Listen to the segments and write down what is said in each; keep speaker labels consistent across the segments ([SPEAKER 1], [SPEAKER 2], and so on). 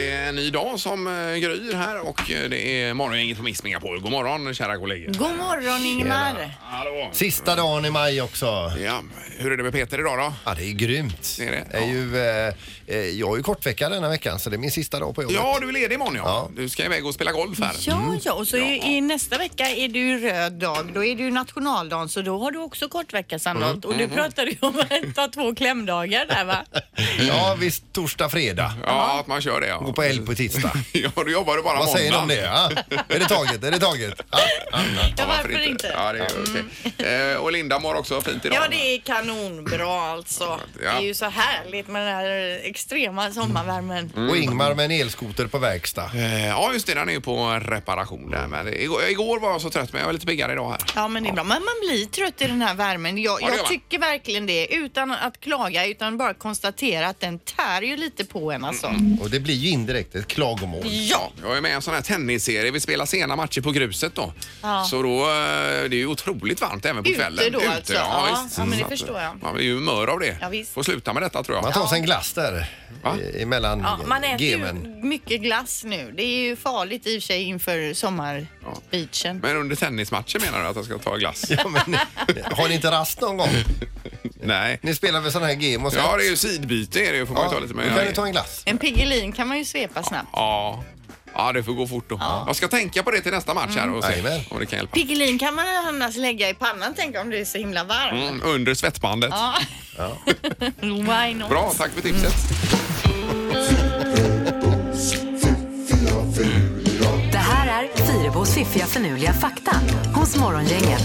[SPEAKER 1] idag som eh, gryr här och eh, det är morgongänget på Mix Megapol. God morgon kära kollegor.
[SPEAKER 2] God morgon Ingemar!
[SPEAKER 1] Hallå.
[SPEAKER 3] Sista dagen i maj också.
[SPEAKER 1] Ja, hur är det med Peter idag då?
[SPEAKER 3] Ja, det är grymt.
[SPEAKER 1] Det är det, ja.
[SPEAKER 3] ju, eh, eh, jag är ju kortvecka denna veckan så det är min sista dag på jobbet.
[SPEAKER 1] Ja, du är ledig imorgon ja.
[SPEAKER 3] Ja.
[SPEAKER 1] Du ska iväg och spela golf här.
[SPEAKER 2] Ja, ja, och så i, i nästa vecka är det ju röd dag. Då är det ju nationaldagen så då har du också kort vecka sannolikt. Och
[SPEAKER 1] Mm.
[SPEAKER 2] du pratade ju om att ta två klämdagar där va?
[SPEAKER 3] ja visst. Torsdag, fredag.
[SPEAKER 1] Ja, att man kör det
[SPEAKER 3] Gå
[SPEAKER 1] ja.
[SPEAKER 3] på helg på tisdag.
[SPEAKER 1] Ja, då jobbar du bara
[SPEAKER 3] Vad
[SPEAKER 1] måndag.
[SPEAKER 3] säger ni om det? Ja? Är det taget? Är det taget? Ja, ja, ja.
[SPEAKER 2] Ja, varför inte? Mm.
[SPEAKER 1] Ja, det är okej. Eh, Och Linda mår också fint idag.
[SPEAKER 2] Ja, det är kanonbra alltså. Det
[SPEAKER 1] Ja.
[SPEAKER 2] är ju så härligt med den här extrema sommarvärmen.
[SPEAKER 1] Mm.
[SPEAKER 3] Och Ingmar med en elskoter på verkstad.
[SPEAKER 1] Eh, Ja, just det. Den är ju på reparation där. Men igår, igår var jag så trött, men jag är lite piggare idag här.
[SPEAKER 2] Ja men det är bra. Men man blir trött i den här värmen. Jag,
[SPEAKER 1] Ja, det gör
[SPEAKER 2] jag
[SPEAKER 1] man.
[SPEAKER 2] tycker verkligen det. Utan att klaga utan bara konstatera att den tär ju lite på en alltså.
[SPEAKER 1] Mm,
[SPEAKER 3] Och det blir ju indirekt ett klagomål.
[SPEAKER 1] Ja, jag är med i en sån här tennisserie. Vi spelar sena matcher på gruset då.
[SPEAKER 2] Ja.
[SPEAKER 1] Så då, eh, det är ju otroligt varmt även på
[SPEAKER 2] Ute
[SPEAKER 1] kvällen.
[SPEAKER 2] då alltså.
[SPEAKER 1] Ja,
[SPEAKER 2] Ja,
[SPEAKER 1] visst.
[SPEAKER 2] ja, men det
[SPEAKER 1] Så att,
[SPEAKER 2] förstår jag.
[SPEAKER 1] Man blir ju i humör av det.
[SPEAKER 2] Ja, visst.
[SPEAKER 1] Får sluta med detta tror jag.
[SPEAKER 3] Man tar sig en glass där
[SPEAKER 1] Va?
[SPEAKER 3] i- emellan
[SPEAKER 2] Ja, man äter
[SPEAKER 3] gemen.
[SPEAKER 2] ju mycket glass nu. Det är ju farligt i och för sig inför sommarbeachen.
[SPEAKER 1] Men under tennismatchen menar du att jag ska ta glass?
[SPEAKER 3] Ja, men, eh, har ni inte rast någon gång?
[SPEAKER 1] Nej.
[SPEAKER 3] Ni spelar väl sån här game och så?
[SPEAKER 1] Ja, det är ju sidbyte är det ju. Får man ju ta lite
[SPEAKER 3] Då kan du
[SPEAKER 1] med.
[SPEAKER 3] ta en glass.
[SPEAKER 2] En Piggelin kan man ju svepa snabbt.
[SPEAKER 1] Ja. ja, det får gå fort då. Jag ska tänka på det till nästa match
[SPEAKER 2] Mm.
[SPEAKER 1] här och se
[SPEAKER 3] Jajamän.
[SPEAKER 1] om det kan hjälpa.
[SPEAKER 2] Piggelin kan man annars lägga i pannan tänk om det är så himla varmt.
[SPEAKER 1] Mm, under svettbandet.
[SPEAKER 2] Ja. Why not?
[SPEAKER 1] Bra, tack för tipset.
[SPEAKER 4] Det här är Fyrabos fiffiga förnuliga fakta hos Morgongänget.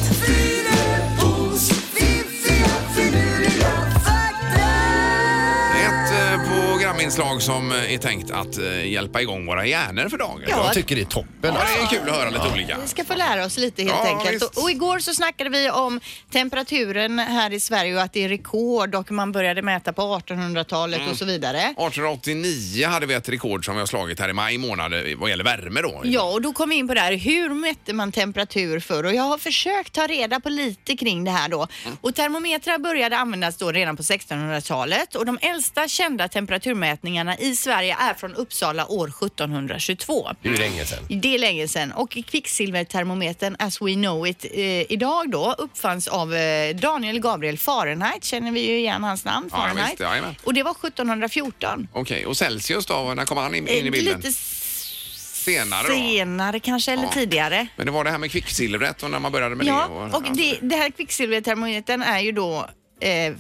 [SPEAKER 1] Ett eh, programinslag som eh, är tänkt att eh, hjälpa igång våra hjärnor för dagen.
[SPEAKER 2] Ja.
[SPEAKER 3] Jag tycker det är toppen.
[SPEAKER 1] Ja, det är kul att höra lite olika.
[SPEAKER 2] Vi ska få lära oss lite helt
[SPEAKER 1] Ja,
[SPEAKER 2] enkelt.
[SPEAKER 1] visst.
[SPEAKER 2] Och, och igår så snackade vi om temperaturen här i Sverige och att det är rekord och man började mäta på 1800-talet
[SPEAKER 1] Mm.
[SPEAKER 2] och så vidare.
[SPEAKER 1] 1889 hade vi ett rekord som vi har slagit här i maj månad eh, vad gäller värme då.
[SPEAKER 2] Ja, och då kom vi in på det här. Hur mätte man temperatur förr? Och jag har försökt ta reda på lite kring det här då. Och termometrar började användas då redan på 1600-talet och de äldsta kända temperaturmätningarna i Sverige är från Uppsala år 1722.
[SPEAKER 3] Det är ju länge sedan.
[SPEAKER 2] Det är länge sedan och kvicksilvertermometern as we know it eh, idag då uppfanns av eh, Daniel Gabriel Fahrenheit, känner vi ju igen hans namn,
[SPEAKER 1] Ja, visst,
[SPEAKER 2] Fahrenheit.
[SPEAKER 1] jajamän.
[SPEAKER 2] och det var 1714.
[SPEAKER 1] Okej, och Celsius då? När kom han in, in i
[SPEAKER 2] Eh,
[SPEAKER 1] bilden?
[SPEAKER 2] Lite
[SPEAKER 1] senare då?
[SPEAKER 2] senare kanske eller
[SPEAKER 1] Ja.
[SPEAKER 2] tidigare.
[SPEAKER 1] Men det var det här med kvicksilvret och när man började med
[SPEAKER 2] Ja,
[SPEAKER 1] det.
[SPEAKER 2] och det, det här kvicksilvertermometern är ju då eh,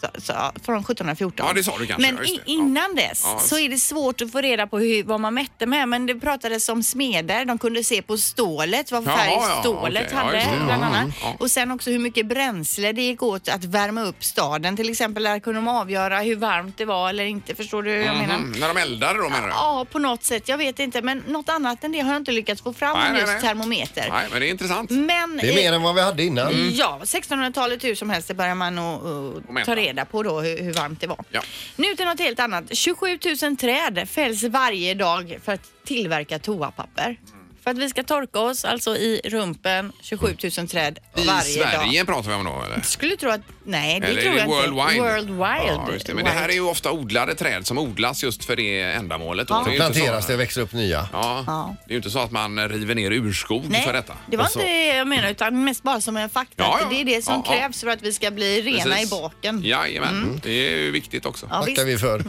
[SPEAKER 2] så, så, från 1714.
[SPEAKER 1] Ja, det sa du kanske. Ja,
[SPEAKER 2] Men
[SPEAKER 1] just
[SPEAKER 2] i,
[SPEAKER 1] det. Ja.
[SPEAKER 2] innan dess
[SPEAKER 1] Ja.
[SPEAKER 2] så är det svårt att få reda på hur, vad man mätte med. Men det pratades om smeder. De kunde se på stålet, vad
[SPEAKER 1] Jaha,
[SPEAKER 2] färg
[SPEAKER 1] ja,
[SPEAKER 2] stålet
[SPEAKER 1] okej. Ja,
[SPEAKER 2] hade
[SPEAKER 1] just det.
[SPEAKER 2] bland
[SPEAKER 1] Ja,
[SPEAKER 2] annat.
[SPEAKER 1] mm, ja.
[SPEAKER 2] Och sen också hur mycket bränsle det gick åt att värma upp staden. Till exempel där kunde de avgöra hur varmt det var eller inte. Förstår du hur jag menar?
[SPEAKER 1] Mhm, när de eldade då menar du?
[SPEAKER 2] Ja, på något sätt. Jag vet inte. Men något annat än det har jag inte lyckats få fram
[SPEAKER 1] Nej,
[SPEAKER 2] än
[SPEAKER 1] nej,
[SPEAKER 2] just
[SPEAKER 1] nej.
[SPEAKER 2] termometer.
[SPEAKER 1] Nej, men det är intressant.
[SPEAKER 2] Men
[SPEAKER 3] Det är
[SPEAKER 2] i-
[SPEAKER 3] mer än vad vi hade innan.
[SPEAKER 1] Mm.
[SPEAKER 2] Ja, 1600-talet hur som helst det börjar man att att
[SPEAKER 1] mäta.
[SPEAKER 2] ta reda på då hur, hur varmt det var.
[SPEAKER 1] Ja.
[SPEAKER 2] Nu till något helt annat. 27 000 träd fälls varje dag för att tillverka toapapper.
[SPEAKER 1] Mm.
[SPEAKER 2] För att vi ska torka oss, alltså i rumpen, 27 000 träd
[SPEAKER 1] I
[SPEAKER 2] varje dag.
[SPEAKER 1] Sverige pratar vi om då eller?
[SPEAKER 2] Skulle tro att... Nej, det
[SPEAKER 1] Eller
[SPEAKER 2] tror
[SPEAKER 1] är
[SPEAKER 2] jag
[SPEAKER 1] det
[SPEAKER 2] inte.
[SPEAKER 1] worldwide?
[SPEAKER 2] Worldwide.
[SPEAKER 1] Ja, just det. Men det här är ju ofta odlade träd som odlas just för det ändamålet. då.
[SPEAKER 2] Ja.
[SPEAKER 1] Det är ju inte så-
[SPEAKER 3] Planteras det och växer upp nya.
[SPEAKER 1] Ja.
[SPEAKER 2] Ja.
[SPEAKER 1] Det är ju inte så att man river ner urskog
[SPEAKER 2] Nej,
[SPEAKER 1] för detta.
[SPEAKER 2] det var
[SPEAKER 3] Och så-
[SPEAKER 2] inte det jag menade utan mest bara som en fakta.
[SPEAKER 1] Ja,
[SPEAKER 2] att
[SPEAKER 1] ja.
[SPEAKER 2] Det är det som
[SPEAKER 1] Ja, ja.
[SPEAKER 2] krävs för att vi ska bli rena
[SPEAKER 1] Precis.
[SPEAKER 2] i baken. Mm.
[SPEAKER 1] Jajamän, det är ju viktigt också.
[SPEAKER 2] Ja,
[SPEAKER 3] Tackar
[SPEAKER 2] visst.
[SPEAKER 3] vi för.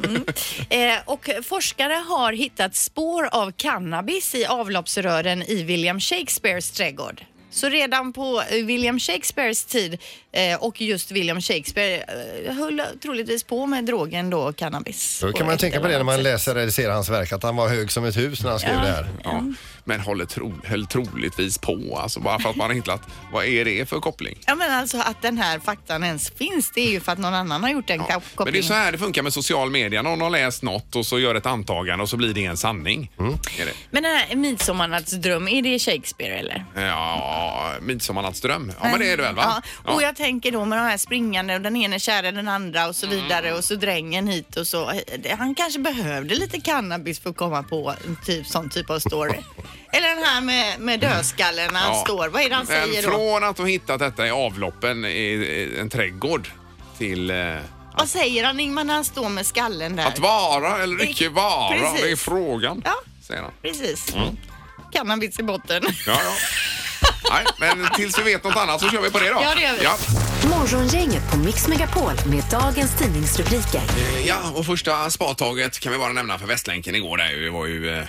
[SPEAKER 1] Mm.
[SPEAKER 2] Eh, och forskare har hittat spår av cannabis i avloppsrören i William Shakespeares trädgård. Så redan på eh, William Shakespeares tid eh, och just William Shakespeare eh, höll troligtvis på med drogen då, cannabis.
[SPEAKER 3] Då kan
[SPEAKER 2] på
[SPEAKER 3] man
[SPEAKER 2] ett
[SPEAKER 3] tänka på
[SPEAKER 2] eller
[SPEAKER 3] det när
[SPEAKER 2] annat
[SPEAKER 3] man
[SPEAKER 2] sätt.
[SPEAKER 3] läser eller ser hans verk, att han var hög som ett hus när han skrev det här.
[SPEAKER 1] Ja. Men håller tro, höll troligtvis på, alltså bara för att man har hittat vad är det för koppling.
[SPEAKER 2] Ja men alltså att den här faktan ens finns det är ju för att någon annan har gjort den
[SPEAKER 1] Ja.
[SPEAKER 2] ja,
[SPEAKER 1] Men det är
[SPEAKER 2] kopplingen.
[SPEAKER 1] så här det funkar med social media. Någon har läst något och så gör ett antagande och så blir det en sanning.
[SPEAKER 2] Mm.
[SPEAKER 1] Är det?
[SPEAKER 2] Men den här midsommarnattsdröm, är det Shakespeare eller?
[SPEAKER 1] Ja, midsommarnattsdröm. Ja, men det är det väl va?
[SPEAKER 2] Ja. Och jag tänker då med de här springande och den ene kära den andra och så
[SPEAKER 1] Mm.
[SPEAKER 2] vidare och så drängen hit och så. eh, Han kanske behövde lite cannabis för att komma på en typ, sån typ av story. Eller den här med, med dödskallen när han
[SPEAKER 1] Ja.
[SPEAKER 2] står. Vad är det han
[SPEAKER 1] Men
[SPEAKER 2] säger då?
[SPEAKER 1] från att ha hittat detta i avloppen i en trädgård till eh,
[SPEAKER 2] Vad säger han Ingmar när han står med skallen där?
[SPEAKER 1] Att vara eller icke vara,
[SPEAKER 2] Precis.
[SPEAKER 1] det är frågan.
[SPEAKER 2] Ja.
[SPEAKER 1] Säger han.
[SPEAKER 2] Precis.
[SPEAKER 1] Mm.
[SPEAKER 2] Cannabis i botten.
[SPEAKER 1] Ja, ja. Nej, men tills vi vet något annat så kör vi på det då.
[SPEAKER 2] Ja, det gör vi.
[SPEAKER 1] Ja.
[SPEAKER 4] Morgongänget på Mix Megapol med dagens tidningsrubriker.
[SPEAKER 1] Eh, Ja, och första spadtaget kan vi bara nämna för Västlänken igår. Där ju var ju eh,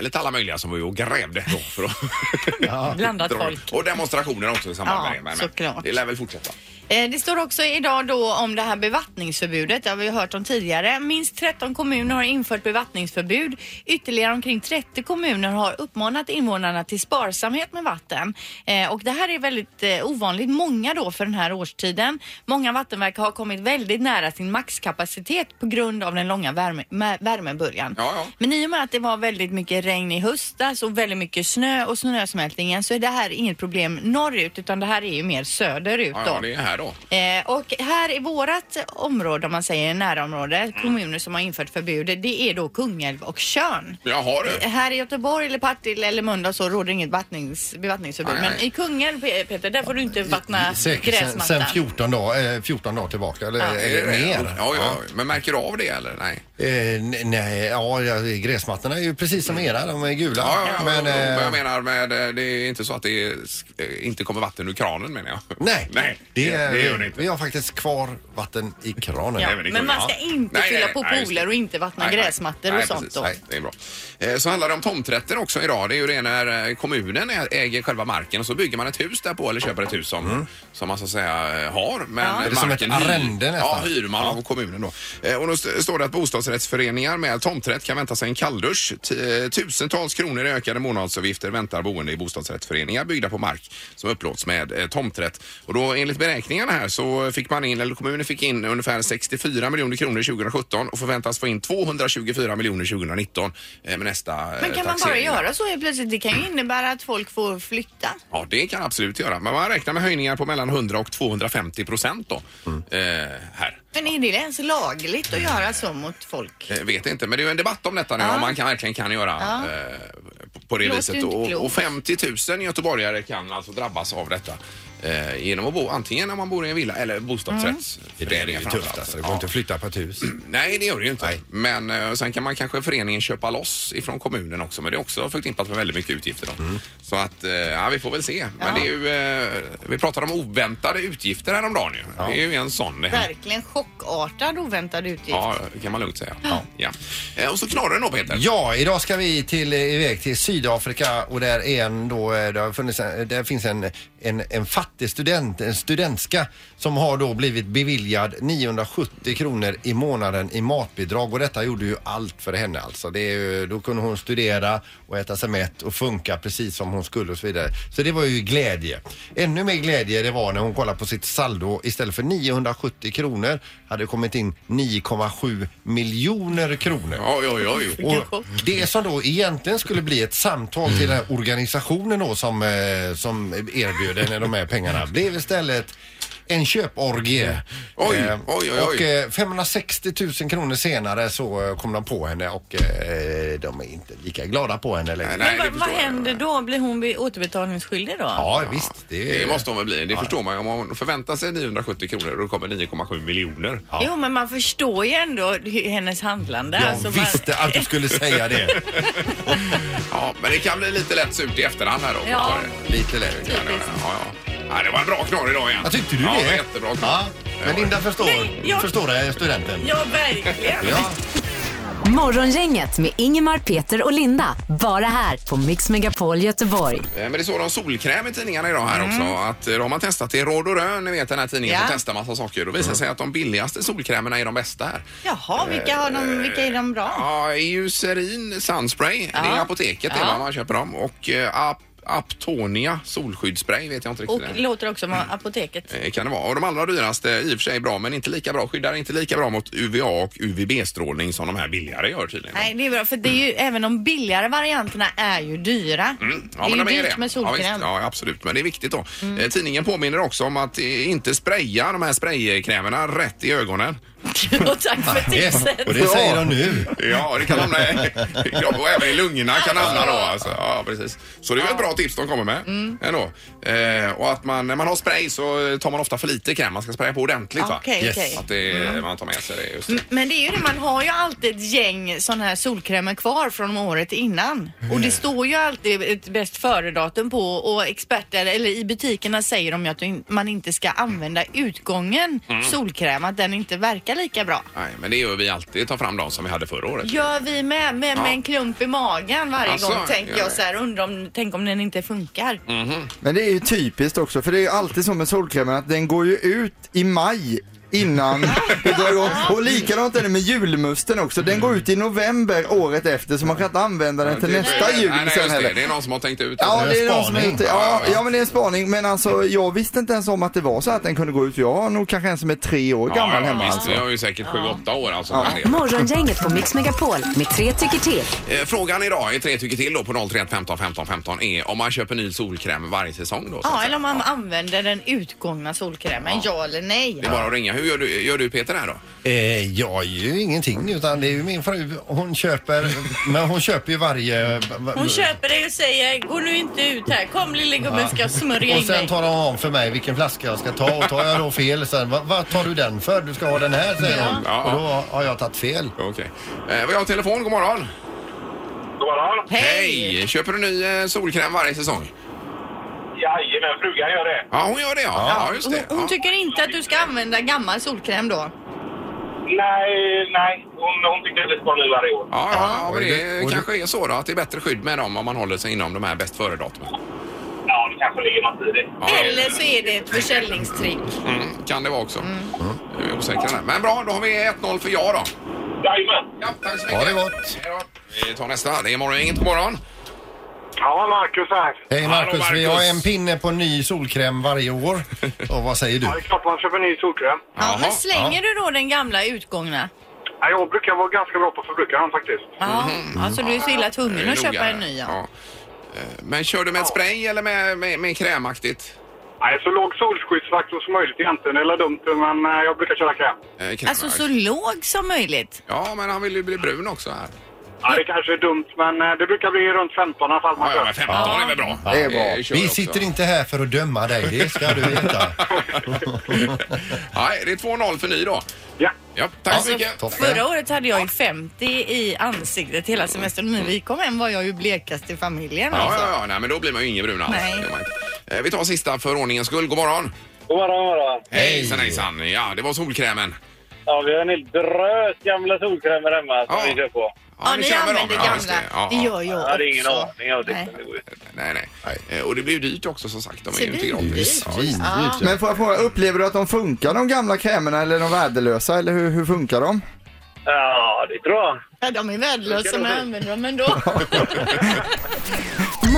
[SPEAKER 1] lite alla möjliga som var ju och grävde då för att
[SPEAKER 2] Blandat
[SPEAKER 1] dra-
[SPEAKER 2] folk.
[SPEAKER 1] Och demonstrationer också i samband med
[SPEAKER 2] Ja,
[SPEAKER 1] det. Men, men
[SPEAKER 2] såklart.
[SPEAKER 1] det lär väl fortsätta.
[SPEAKER 2] Eh, Det står också idag då om det här bevattningsförbudet. Det har vi ju hört om tidigare. Minst 13 kommuner har infört bevattningsförbud. Ytterligare omkring 30 kommuner har uppmanat invånarna till sparsamhet med vatten. Eh, Och det här är väldigt eh, ovanligt många då för den här årstiden. Många vattenverk har kommit väldigt nära sin maxkapacitet på grund av den långa värme, mä- värmeböljan.
[SPEAKER 1] Ja, ja.
[SPEAKER 2] Men i och med att det var väldigt mycket regn i höstas och väldigt mycket snö och snösmältningen så är det här inget problem norrut utan det här är ju mer söderut
[SPEAKER 1] Ja,
[SPEAKER 2] då.
[SPEAKER 1] ja, det är här då.
[SPEAKER 2] Eh, och här i vårat område, om man säger
[SPEAKER 1] Mm.
[SPEAKER 2] närområde, kommuner som har infört förbud, det är då Kungälv och Tjörn.
[SPEAKER 1] Jaha du.
[SPEAKER 2] Eh, Här i Göteborg eller Partille eller Mölndal så råder inget vattnings, bevattningsförbud.
[SPEAKER 1] Nej, nej.
[SPEAKER 2] Men i Kungälv, Pe- Peter, där får du inte vattna
[SPEAKER 3] Säkert sen,
[SPEAKER 2] gräsmattan.
[SPEAKER 3] sen 14 dagar eh, 14 dagar tillbaka eller, eller mer.
[SPEAKER 1] Ja, ja. Men märker du av det eller? Nej.
[SPEAKER 3] Eh, n- nej, ja, ja, gräsmattorna är ju precis som era, de är gula.
[SPEAKER 1] Ja, ja, ja, men,
[SPEAKER 3] men, eh,
[SPEAKER 1] jag menar med, eh, det är inte så att det är, eh, inte kommer vatten ur kranen menar jag.
[SPEAKER 3] nej,
[SPEAKER 1] Nej,
[SPEAKER 3] det,
[SPEAKER 1] det gör det inte.
[SPEAKER 3] vi har faktiskt kvar vatten i kranen.
[SPEAKER 2] Ja,
[SPEAKER 1] Nej, men det
[SPEAKER 2] men
[SPEAKER 1] går
[SPEAKER 2] man ska
[SPEAKER 1] ju.
[SPEAKER 2] inte
[SPEAKER 1] Nej,
[SPEAKER 2] fylla
[SPEAKER 1] nej,
[SPEAKER 2] på
[SPEAKER 1] nej, just
[SPEAKER 2] pooler
[SPEAKER 1] det.
[SPEAKER 2] och inte vattna
[SPEAKER 1] Nej, nej.
[SPEAKER 2] gräsmattor
[SPEAKER 1] Nej,
[SPEAKER 2] och sånt
[SPEAKER 1] precis.
[SPEAKER 2] då.
[SPEAKER 1] Nej, det är bra. Eh, Så handlar det om tomträtter också idag. Det är ju det när eh, kommunen ä- äger själva marken och så bygger man ett hus därpå eller köper ett hus som, som man så att säga eh, har. Men
[SPEAKER 2] Ja.
[SPEAKER 1] eh,
[SPEAKER 3] Är Mm. det som
[SPEAKER 1] marken
[SPEAKER 3] ett
[SPEAKER 1] hyr-
[SPEAKER 3] arrende nästan?
[SPEAKER 1] Ja, hyr man av kommunen då. Eh, Och då st- står det att bostadsrättsföreningar med tomträtt kan vänta sig en kalldusch. T- eh, Tusentals kronor i ökade månadsavgifter väntar boende i bostadsrättsföreningar byggda på mark som upplåts med eh, tomträtt. Och då enligt beräkningarna här så fick man in, eller kommunen fick in ungefär 64 miljoner kronor 2017 och förväntas få in 224 miljoner 2019 eh, med nästa eh,
[SPEAKER 2] Men kan man bara
[SPEAKER 1] taxering.
[SPEAKER 2] göra så helt plötsligt? Det kan ju innebära att folk får flytta.
[SPEAKER 1] Ja, det kan absolut göra. Men man räknar med höjningar på mellan 100 och 250 procent då. Eh, här.
[SPEAKER 2] Men är det ens lagligt att göra så mot folk?
[SPEAKER 1] Eh, Vet inte, men det är ju en debatt om detta nu,
[SPEAKER 2] Ja.
[SPEAKER 1] om man kan, verkligen kan göra eh, på- på det
[SPEAKER 2] Låter
[SPEAKER 1] viset.
[SPEAKER 2] ju inte
[SPEAKER 1] Och,
[SPEAKER 2] klokt.
[SPEAKER 1] och 50 000 göteborgare kan alltså drabbas av detta eh, genom att bo antingen om man bor i en villa eller bostadsrätt.
[SPEAKER 2] Mm.
[SPEAKER 3] Det är ju tufft alltså, det går inte att flytta på ett hus.
[SPEAKER 1] Nej, det gör det ju inte. Men eh, sen kan man kanske föreningen köpa loss ifrån kommunen också, men det är också förknippat med väldigt mycket utgifter. Då.
[SPEAKER 3] Mm.
[SPEAKER 1] Så att, eh, ja, vi får väl se. Men det är ju, eh, vi pratade om oväntade utgifter häromdagen ju. Det är ju en sån. Det händer.
[SPEAKER 2] Verkligen chockartad oväntad utgift.
[SPEAKER 1] Ja, det kan man lugnt säga. Ja. Eh, Och så knorren då Peter.
[SPEAKER 3] Ja, idag ska vi till, eh, iväg till Sydafrika och där är en då, eh, det har funnits en, där finns en, en, en fattig student, en studentska som har då blivit beviljad 970 kronor i månaden i matbidrag och detta gjorde ju allt för henne alltså. Det är, ju- då kunde hon studera och äta sig mätt och funka precis som hon skulle och så vidare. Så det var ju glädje. Ännu mer glädje det var när hon kollade på sitt saldo. Istället för 970 kronor hade det kommit in 9,7 miljoner kronor.
[SPEAKER 1] Oj, oj, oj.
[SPEAKER 3] Och det som då egentligen skulle bli ett samtal till den här organisationen då som, eh, som erbjöd henne de här pengarna blev istället en köporgie.
[SPEAKER 1] Oj,
[SPEAKER 3] Eh,
[SPEAKER 1] oj, oj, oj.
[SPEAKER 3] Och eh, 560 000 kronor senare så eh, kom de på henne och eh, de är inte lika glada på henne längre.
[SPEAKER 1] Nej,
[SPEAKER 2] Men
[SPEAKER 1] det
[SPEAKER 2] vad, vad
[SPEAKER 1] förstår jag.
[SPEAKER 2] händer då? Blir hon be- återbetalningsskyldig då?
[SPEAKER 3] Ja, visst. Det,
[SPEAKER 1] Det måste hon väl bli. Det förstår man ju. Om hon förväntar sig 970 kronor och då kommer 9,7 miljoner.
[SPEAKER 2] Jo, men man förstår ju ändå hur- hennes handlande.
[SPEAKER 3] Jag
[SPEAKER 2] Alltså, man-
[SPEAKER 3] visste att du skulle säga det.
[SPEAKER 1] Ja, men det kan bli lite lätt surt i efterhand här då.
[SPEAKER 2] Ja.
[SPEAKER 3] Lite lätt.
[SPEAKER 1] Ja, ja. ja, det var en bra knorr idag igen.
[SPEAKER 3] Ja, tyckte du
[SPEAKER 1] ja,
[SPEAKER 3] det?
[SPEAKER 1] Ja, jättebra knorr.
[SPEAKER 3] Ja, men Linda förstår,
[SPEAKER 2] Nej, jag-
[SPEAKER 3] förstår det, studenten.
[SPEAKER 2] Ja, verkligen.
[SPEAKER 3] Ja.
[SPEAKER 4] Morgongänget med Ingemar, Peter och Linda. Bara här på Mix Megapol Göteborg.
[SPEAKER 1] Eh, Men det står om solkräm i tidningarna idag här också. Att eh, då har man testat i Råd och Rön, ni vet den här tidningen
[SPEAKER 2] Mm. Ja.
[SPEAKER 1] som testar massa saker. Då visar det sig att de billigaste solkrämerna är de bästa här.
[SPEAKER 2] Jaha, vilka, har de, vilka är de bra?
[SPEAKER 1] Ja, Eucerin Sunspray. Det är
[SPEAKER 2] Ja.
[SPEAKER 1] apoteket det
[SPEAKER 2] Ja.
[SPEAKER 1] är man köper dem. Och eh, Ap- Aptonia solskyddsspray vet jag inte riktigt.
[SPEAKER 2] Och
[SPEAKER 1] det.
[SPEAKER 2] låter också som apoteket.
[SPEAKER 1] Eh, kan det vara. Och de allra dyraste i och för sig bra men inte lika bra, skyddar inte lika bra mot UVA och UVB-strålning som de här billigare gör tydligen.
[SPEAKER 2] Nej, det är bra för det är ju, även de billigare varianterna är ju dyra.
[SPEAKER 1] Mm. Ja,
[SPEAKER 2] det är
[SPEAKER 1] men de
[SPEAKER 2] ju dyrt med
[SPEAKER 1] Ja,
[SPEAKER 2] solkräm. Mm.
[SPEAKER 1] visst. ja, absolut. Men det är viktigt då. Eh, Tidningen påminner också om att eh, inte spraya de här spraykrämerna rätt i ögonen.
[SPEAKER 2] Och tack för tipset.
[SPEAKER 3] Och det säger de nu.
[SPEAKER 1] Ja, det kan hamna i ja, och även i lungorna kan hamna då. Alltså. Ja, precis. Så det är väl ett bra tips de kommer med
[SPEAKER 2] Mm.
[SPEAKER 1] ändå. Eh, och att man, när man har spray så tar man ofta för lite kräm. Man ska spraya på ordentligt va?
[SPEAKER 2] Okej,
[SPEAKER 3] Yes.
[SPEAKER 2] okej. Mm.
[SPEAKER 1] Att det, man tar med sig det. Just det.
[SPEAKER 2] Men det är ju det, man har ju alltid ett gäng sådana här solkrämer kvar från året innan. Och det står ju alltid ett bäst före-datum på och experter, eller i butikerna säger de ju att du- man inte ska använda utgången solkräm, att den inte verkar lika bra.
[SPEAKER 1] Nej, men det gör vi alltid. Ta fram de som vi hade förra året.
[SPEAKER 2] Gör vi med, med, med en klump i magen varje
[SPEAKER 1] Alltså,
[SPEAKER 2] gång tänker
[SPEAKER 1] ja.
[SPEAKER 2] jag så här, undrar om, tänk om den inte funkar.
[SPEAKER 5] Men det är ju typiskt också, för det är ju alltid så med solkrämen att den går ju ut i maj innan det drar igång. Och likadant är det med julmusten också. Den går ut i november året efter så man kan inte använda den till
[SPEAKER 1] Det-
[SPEAKER 5] nästa jul
[SPEAKER 1] Nej, nej,
[SPEAKER 5] sen
[SPEAKER 1] just det.
[SPEAKER 5] heller.
[SPEAKER 1] Det är någon som har tänkt ut det.
[SPEAKER 5] Ja,
[SPEAKER 3] Det är
[SPEAKER 5] det
[SPEAKER 3] en
[SPEAKER 5] är någon som
[SPEAKER 3] spaning.
[SPEAKER 5] inte, ja, ja, men det är en spaning. Men alltså, jag visste inte ens om att det var så att den kunde gå ut. Jag har nog kanske en som är tre år gammal hemma.
[SPEAKER 1] visst,
[SPEAKER 5] Alltså.
[SPEAKER 1] Vi har ju säkert sju, åtta år alltså. på en del.
[SPEAKER 4] Morgongänget på Mix Megapol med tre tycker till.
[SPEAKER 1] Eh, Frågan idag i tre tycker till då på 031 15 15 15 är om man köper ny solkräm varje säsong då. så att
[SPEAKER 2] Ja,
[SPEAKER 1] säga.
[SPEAKER 2] eller om man använder den utgångna solkrämen, ja, eller nej.
[SPEAKER 1] Det är bara att ringa. Hur gör du, gör du Peter här då?
[SPEAKER 3] Eh, jag gör ju ingenting utan det är ju min fru. Hon köper, men hon köper ju varje...
[SPEAKER 2] Hon köper dig och säger gå nu inte ut här, kom lille gubben ska jag smörja
[SPEAKER 3] Och
[SPEAKER 2] in dig.
[SPEAKER 3] sen talar hon om för mig vilken flaska jag ska ta och tar jag då fel sen, vad, vad tar du den för? Du ska ha den här säger hon.
[SPEAKER 1] Ja.
[SPEAKER 3] Och då har jag tagit fel.
[SPEAKER 1] Okej. Eh, vi har telefon. God morgon.
[SPEAKER 6] God morgon.
[SPEAKER 2] Hej!
[SPEAKER 1] Köper du ny eh, solkräm varje säng?
[SPEAKER 6] Jajamän, frugan gör det.
[SPEAKER 1] Ja, hon gör det ja. Ja, just det.
[SPEAKER 2] Hon, hon
[SPEAKER 1] ja.
[SPEAKER 2] tycker inte att du ska använda gammal solkräm då?
[SPEAKER 6] Nej, nej. Hon, hon tycker det ska nu varje år.
[SPEAKER 1] Ja, ja, ja, men
[SPEAKER 3] Och det-
[SPEAKER 1] det
[SPEAKER 3] och det-
[SPEAKER 1] kanske är så då att det är bättre skydd med dem om man håller sig inom de här bäst före-datumen.
[SPEAKER 6] Ja, det kanske ligger något i det.
[SPEAKER 1] Ja,
[SPEAKER 2] Eller så är det ett försäljningstrick.
[SPEAKER 1] mm, kan det vara också. Mm. Nu är vi osäkra där. Men bra, då har vi 1-0 för ja då.
[SPEAKER 6] Jajamän.
[SPEAKER 1] Ja, tack så mycket.
[SPEAKER 3] Ha det gott.
[SPEAKER 1] Hej då. Vi tar nästa. Det är morgon, inget på morgon.
[SPEAKER 6] Ja, Marcus här.
[SPEAKER 3] Hej Marcus,
[SPEAKER 1] Hallå,
[SPEAKER 3] vi har
[SPEAKER 1] Marcus.
[SPEAKER 3] en pinne på ny solkräm varje år. Och vad säger du?
[SPEAKER 6] Ja, det är klart man köper ny solkräm.
[SPEAKER 2] Ja,
[SPEAKER 1] Jaha.
[SPEAKER 2] men slänger du då den gamla utgångna?
[SPEAKER 6] Ja, jag brukar vara ganska bra på att förbruka den faktiskt.
[SPEAKER 2] Ja, alltså du är så illa tvungen
[SPEAKER 1] Mhm. Det är
[SPEAKER 2] att köpa
[SPEAKER 1] noggrannare.
[SPEAKER 2] en ny ja.
[SPEAKER 1] Ja. Eh, Men kör du med ett spray eller med, med, med krämaktigt?
[SPEAKER 6] Nej, så låg solskyddsfaktor som möjligt egentligen. Eller dumt, men eh, jag brukar köra kräm.
[SPEAKER 1] Eh, kräm,
[SPEAKER 2] Alltså
[SPEAKER 1] ja.
[SPEAKER 2] så låg som möjligt.
[SPEAKER 1] Ja, men han vill ju bli brun också här.
[SPEAKER 6] Ja, det kanske är dumt, men eh, det brukar bli runt 15 i alla fall. man
[SPEAKER 1] Ja, ja,
[SPEAKER 6] kör.
[SPEAKER 1] men 15 är väl bra?
[SPEAKER 5] Det är bra.
[SPEAKER 1] Eh, kör
[SPEAKER 3] Vi
[SPEAKER 1] också.
[SPEAKER 3] sitter inte här för att döma dig, det ska du veta.
[SPEAKER 1] Nej, det är 2-0 för ny då.
[SPEAKER 6] Ja.
[SPEAKER 1] Ja, tack så
[SPEAKER 2] Alltså,
[SPEAKER 1] mycket.
[SPEAKER 3] toppen.
[SPEAKER 2] Förra året hade jag ju 50 i ansiktet hela semestern. När vi kom hem var jag ju blekast i familjen.
[SPEAKER 1] Ja,
[SPEAKER 2] Alltså.
[SPEAKER 1] ja, ja, nej, men då blir man ju ingen brun alls.
[SPEAKER 2] Nej.
[SPEAKER 1] Det gör man inte. Eh, Vi tar sista för ordningens skull. God morgon!
[SPEAKER 6] God morgon, morgon.
[SPEAKER 1] Hejsan, hejsan. Ja, det var solkrämen.
[SPEAKER 6] Ja, vi har en hel drös gamla solkrämer hemma
[SPEAKER 1] som Ja. vi kör
[SPEAKER 6] på.
[SPEAKER 2] Ja,
[SPEAKER 1] nu
[SPEAKER 2] ni
[SPEAKER 1] kör vi dem.
[SPEAKER 2] använder
[SPEAKER 1] Ja, just
[SPEAKER 2] gamla.
[SPEAKER 1] Ja,
[SPEAKER 2] Det
[SPEAKER 1] ja.
[SPEAKER 2] gör jag också. Nej.
[SPEAKER 1] Nej, nej. Eh, Och det blir ju dyrt också som sagt. De är ju inte
[SPEAKER 2] Svindyrt.
[SPEAKER 1] gratis. Ja, visst.
[SPEAKER 5] Men får jag fråga, upplever du att de funkar de gamla krämerna eller är de värdelösa eller hur, hur funkar de?
[SPEAKER 6] Ja, det tror jag.
[SPEAKER 2] Ja, de är värdelösa men jag använder dem ändå.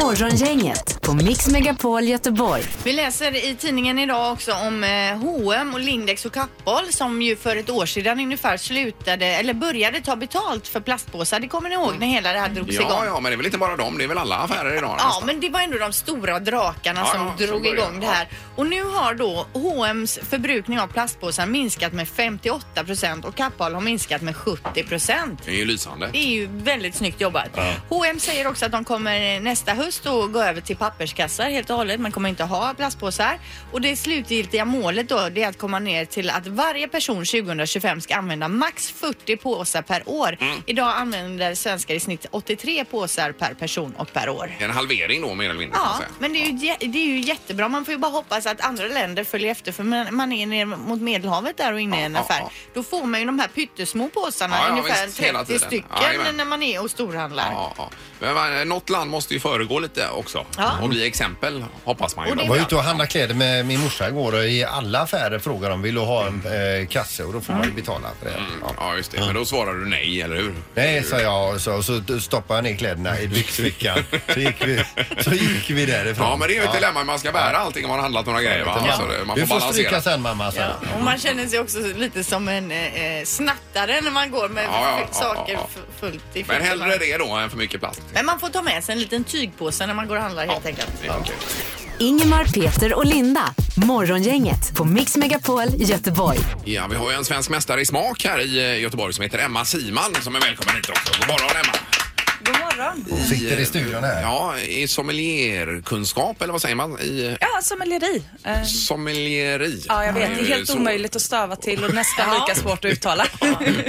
[SPEAKER 4] Morgongänget på Mix Megapol Göteborg.
[SPEAKER 2] Vi läser i tidningen idag också om eh, H&M och Lindex och Kappahl som ju för ett år sedan ungefär slutade eller började ta betalt för plastpåsar. Det kommer ni ihåg när hela det här drogs igång?
[SPEAKER 1] Ja, ja, men det är väl inte bara dem. Det är väl alla affärer idag
[SPEAKER 2] Ja,
[SPEAKER 1] nästan.
[SPEAKER 2] men det var ändå de stora drakarna
[SPEAKER 1] Ja,
[SPEAKER 2] som
[SPEAKER 1] ja, som
[SPEAKER 2] drog
[SPEAKER 1] började,
[SPEAKER 2] igång det här. Och nu har då H&M's förbrukning av plastpåsar minskat med 58 procent och Kappahl har minskat med 70 procent.
[SPEAKER 1] Det är ju lysande.
[SPEAKER 2] Det är ju väldigt snyggt jobbat. H&M säger också att de kommer nästa höst att gå över till papperskassar helt och hållet. Man kommer inte ha plastpåsar. Och det slutgiltiga målet då det är att komma ner till att varje person 2025 ska använda max 40 påsar per år. Idag använder svenskar i snitt 83 påsar per person och per år.
[SPEAKER 1] En halvering då mer eller mindre. kan man
[SPEAKER 2] Ja,
[SPEAKER 1] säga.
[SPEAKER 2] men det är, ju, jä- det är ju jättebra. Man får ju bara hoppas att andra länder följer efter för man, man är ner mot Medelhavet där och inne i en
[SPEAKER 1] Ja,
[SPEAKER 2] affär.
[SPEAKER 1] ja,
[SPEAKER 2] Då får man ju de här pyttesmå påsarna,
[SPEAKER 1] Ja, ja,
[SPEAKER 2] ungefär
[SPEAKER 1] visst, hela
[SPEAKER 2] 30
[SPEAKER 1] tiden.
[SPEAKER 2] stycken
[SPEAKER 1] Ja, jajamän.
[SPEAKER 2] när man är och storhandlar.
[SPEAKER 1] Ja, ja. Men man, något land måste ju föregå lite också
[SPEAKER 2] Ja.
[SPEAKER 1] och bli exempel hoppas man ju.
[SPEAKER 2] Och det
[SPEAKER 1] då.
[SPEAKER 3] Jag var ute och handlade kläder med min morsa igår och i alla affärer frågar de vill du ha en eh, kasse och då får man ju betala för det. Ja.
[SPEAKER 1] Ja, just det. Men då svarar du nej, eller hur?
[SPEAKER 3] Nej, sa jag och så, så stoppade jag ner kläderna i byxfickan. Så gick vi, så gick vi därifrån.
[SPEAKER 1] Ja, men det är ju ett dilemma. Man ska bära allting om man har handlat några grejer. Va?
[SPEAKER 3] Ja.
[SPEAKER 1] Så det- man
[SPEAKER 3] du
[SPEAKER 1] får
[SPEAKER 3] får stryka
[SPEAKER 1] balansera.
[SPEAKER 3] sen mamma, sa jag.
[SPEAKER 2] Och man känner sig också lite som en eh, eh, snattare när man går med
[SPEAKER 1] Ja, ja,
[SPEAKER 2] saker
[SPEAKER 1] ja, ja.
[SPEAKER 2] fu- fullt i
[SPEAKER 1] Men
[SPEAKER 2] fickorna.
[SPEAKER 1] hellre det då än för mycket plast.
[SPEAKER 2] Men man får ta med sig en liten tygpåse när man går och handlar helt enkelt.
[SPEAKER 1] Det är okej.
[SPEAKER 4] Ingemar, Peter och Linda. Morgongänget på Mix Megapol Göteborg.
[SPEAKER 1] Ja, vi har ju en svensk mästare i smak här i eh, Göteborg som heter Emma Siman som är välkommen hit också. God morgon Emma!
[SPEAKER 7] God morgon.
[SPEAKER 3] Sitter i studion här.
[SPEAKER 1] Ja, i sommelierkunskap eller vad säger man? I
[SPEAKER 7] Ja, sommelleri. Eh,
[SPEAKER 1] sommelieri.
[SPEAKER 7] Ja, jag vet. Det är
[SPEAKER 1] ju
[SPEAKER 7] helt
[SPEAKER 1] så.
[SPEAKER 7] omöjligt att stava till och nästan lika svårt att uttala.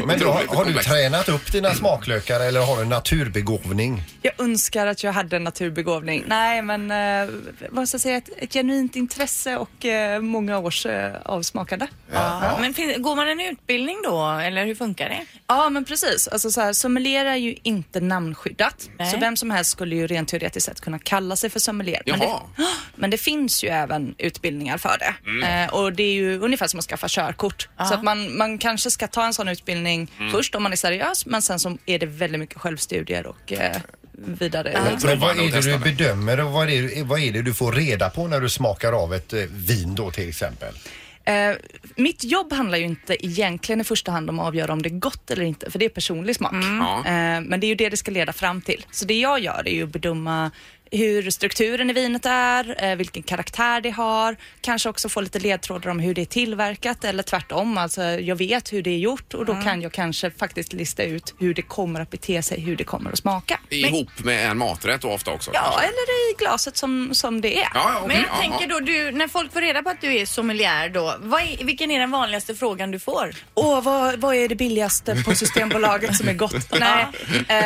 [SPEAKER 3] Men du, har,
[SPEAKER 1] Otroligt
[SPEAKER 3] har du
[SPEAKER 1] komplext.
[SPEAKER 3] tränat upp dina smaklökar eller har du naturbegåvning?
[SPEAKER 7] Jag önskar att jag hade en naturbegåvning. Nej, men eh, vad ska jag säga? Ett, ett genuint intresse och eh, många års eh, avsmakande.
[SPEAKER 2] Ja. Men fin- går man en utbildning då eller hur funkar det?
[SPEAKER 7] Ja, men precis. Alltså, så här, sommelier är ju inte namnskyddat.
[SPEAKER 2] Nej.
[SPEAKER 7] Så vem som helst skulle ju rent teoretiskt sett kunna kalla sig för sommelier. Men det,
[SPEAKER 1] Jaha.
[SPEAKER 7] men det finns ju även utbildningar för det. Eh, och det är ju ungefär som att skaffa körkort. Så att man, man kanske ska ta en sån utbildning först om man är seriös, men sen så är det väldigt mycket självstudier och eh, vidare.
[SPEAKER 3] Men vad
[SPEAKER 1] Prova
[SPEAKER 3] är
[SPEAKER 1] och
[SPEAKER 3] det
[SPEAKER 1] testa
[SPEAKER 3] du
[SPEAKER 1] med.
[SPEAKER 3] bedömer och vad är det, vad är det du får reda på när du smakar av ett eh, vin då till exempel?
[SPEAKER 7] Eh, mitt jobb handlar ju inte egentligen i första hand om att avgöra om det är gott eller inte, för det är personlig smak.
[SPEAKER 1] Mm. Ja.
[SPEAKER 7] Eh, men det är ju det det ska leda fram till. Så det jag gör är ju att bedöma hur strukturen i vinet är, eh, vilken karaktär det har, kanske också få lite ledtrådar om hur det är tillverkat eller tvärtom. Alltså, jag vet hur det är gjort och då
[SPEAKER 1] Mm.
[SPEAKER 7] kan jag kanske faktiskt lista ut hur det kommer att bete sig, hur det kommer att smaka.
[SPEAKER 1] Ihop med en maträtt då ofta också.
[SPEAKER 7] Ja,
[SPEAKER 1] kanske.
[SPEAKER 7] eller i glaset som, som det är.
[SPEAKER 1] ja, ja, okej.
[SPEAKER 2] Men jag
[SPEAKER 1] ja,
[SPEAKER 2] tänker
[SPEAKER 1] ja.
[SPEAKER 2] då, du, när folk får reda på att du är sommelier då, vad är, vilken är den vanligaste frågan du får?
[SPEAKER 7] Åh, vad, vad är det billigaste på Systembolaget som är gott? Nej.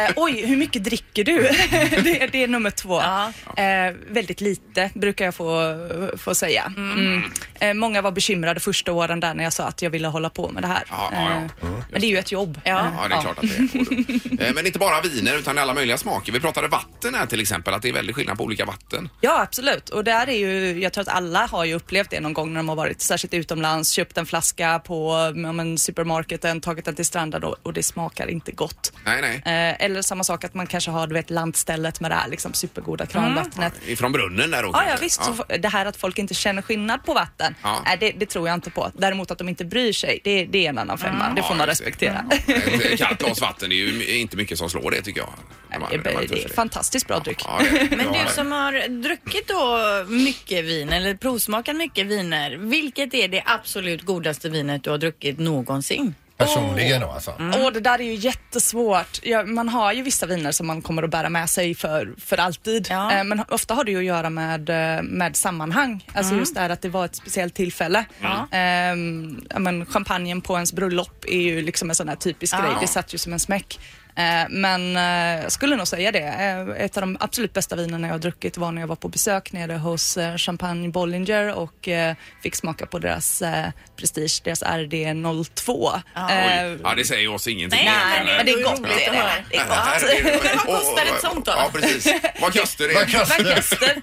[SPEAKER 7] Eh, oj, hur mycket dricker du? det, är- det är nummer två.
[SPEAKER 2] Ja.
[SPEAKER 7] Eh, väldigt lite brukar jag få, få säga. Mm. Eh, många var bekymrade första åren där när jag sa att jag ville hålla på med det här.
[SPEAKER 1] Ja, ja, ja.
[SPEAKER 7] Eh, men det är ju ett jobb. Eh,
[SPEAKER 1] Ja, det är klart att det är. Eh, Men inte bara viner utan alla möjliga smaker. Vi pratade vatten här till exempel, att det är väldigt skillnad på olika vatten.
[SPEAKER 7] Ja, absolut. Och där är ju, jag tror att alla har ju upplevt det någon gång när de har varit särskilt utomlands, köpt en flaska på ja, men, supermarketen, tagit den till stranden och, och det smakar inte gott.
[SPEAKER 1] Nej, nej.
[SPEAKER 7] Eh, eller samma sak att man kanske har du vet, lantstället med det här liksom, supergoda kranvattnet.
[SPEAKER 2] Eh.
[SPEAKER 1] Ifrån brunnen där då
[SPEAKER 7] Ja, ja
[SPEAKER 1] kanske.
[SPEAKER 7] visst. Så f- det här att folk inte känner skillnad på vatten,
[SPEAKER 1] Ja.
[SPEAKER 7] nej, det, det tror jag inte på. Däremot att de inte bryr sig, det, det är en annan femma. Det
[SPEAKER 1] Mm.
[SPEAKER 7] får
[SPEAKER 1] Ja, Mm.
[SPEAKER 7] man
[SPEAKER 1] just det.
[SPEAKER 7] respektera.
[SPEAKER 1] Ett kallt glas vatten, det är ju inte mycket som slår det tycker jag. När man-
[SPEAKER 7] det,
[SPEAKER 1] när man
[SPEAKER 7] är- det är
[SPEAKER 1] törstig.
[SPEAKER 7] fantastiskt bra dryck.
[SPEAKER 1] Ja, det är det.
[SPEAKER 2] Men
[SPEAKER 1] Ja,
[SPEAKER 2] du som har druckit då mycket vin eller provsmakat mycket viner, vilket är det absolut godaste vinet du har druckit någonsin?
[SPEAKER 3] Personligen då alltså.
[SPEAKER 2] Mm.
[SPEAKER 7] Åh, det där är ju jättesvårt. Ja, man har ju vissa viner som man kommer att bära med sig för, för alltid.
[SPEAKER 2] Ja.
[SPEAKER 7] Eh, men ofta har det ju att göra med, eh, med sammanhang. Alltså
[SPEAKER 2] Mm.
[SPEAKER 7] just det här att det var ett speciellt tillfälle. Ehm, ja, men champagnen på ens bröllop är ju liksom en sån här typisk
[SPEAKER 2] Ja.
[SPEAKER 7] grej. Det satt ju som en smäck. Eh, Men eh, jag skulle nog säga det. Eh, Ett av de absolut bästa vinerna jag har druckit var när jag var på besök nere hos eh, Champagne Bollinger och eh, fick smaka på deras eh, Prestige, deras RD02.
[SPEAKER 2] Ah,
[SPEAKER 7] Eh,
[SPEAKER 1] Oj. Ja, det säger ju oss ingenting.
[SPEAKER 2] Nej,
[SPEAKER 1] egentligen.
[SPEAKER 2] men det är gott.
[SPEAKER 7] roligt att höra.
[SPEAKER 2] Det är
[SPEAKER 1] Nej,
[SPEAKER 2] gott.
[SPEAKER 1] herregud.
[SPEAKER 2] Men vad
[SPEAKER 1] Och-
[SPEAKER 2] kostar ett sånt då?
[SPEAKER 1] Ja, precis. Vad kostar det?
[SPEAKER 3] Vad kostar det?
[SPEAKER 7] Lancaster.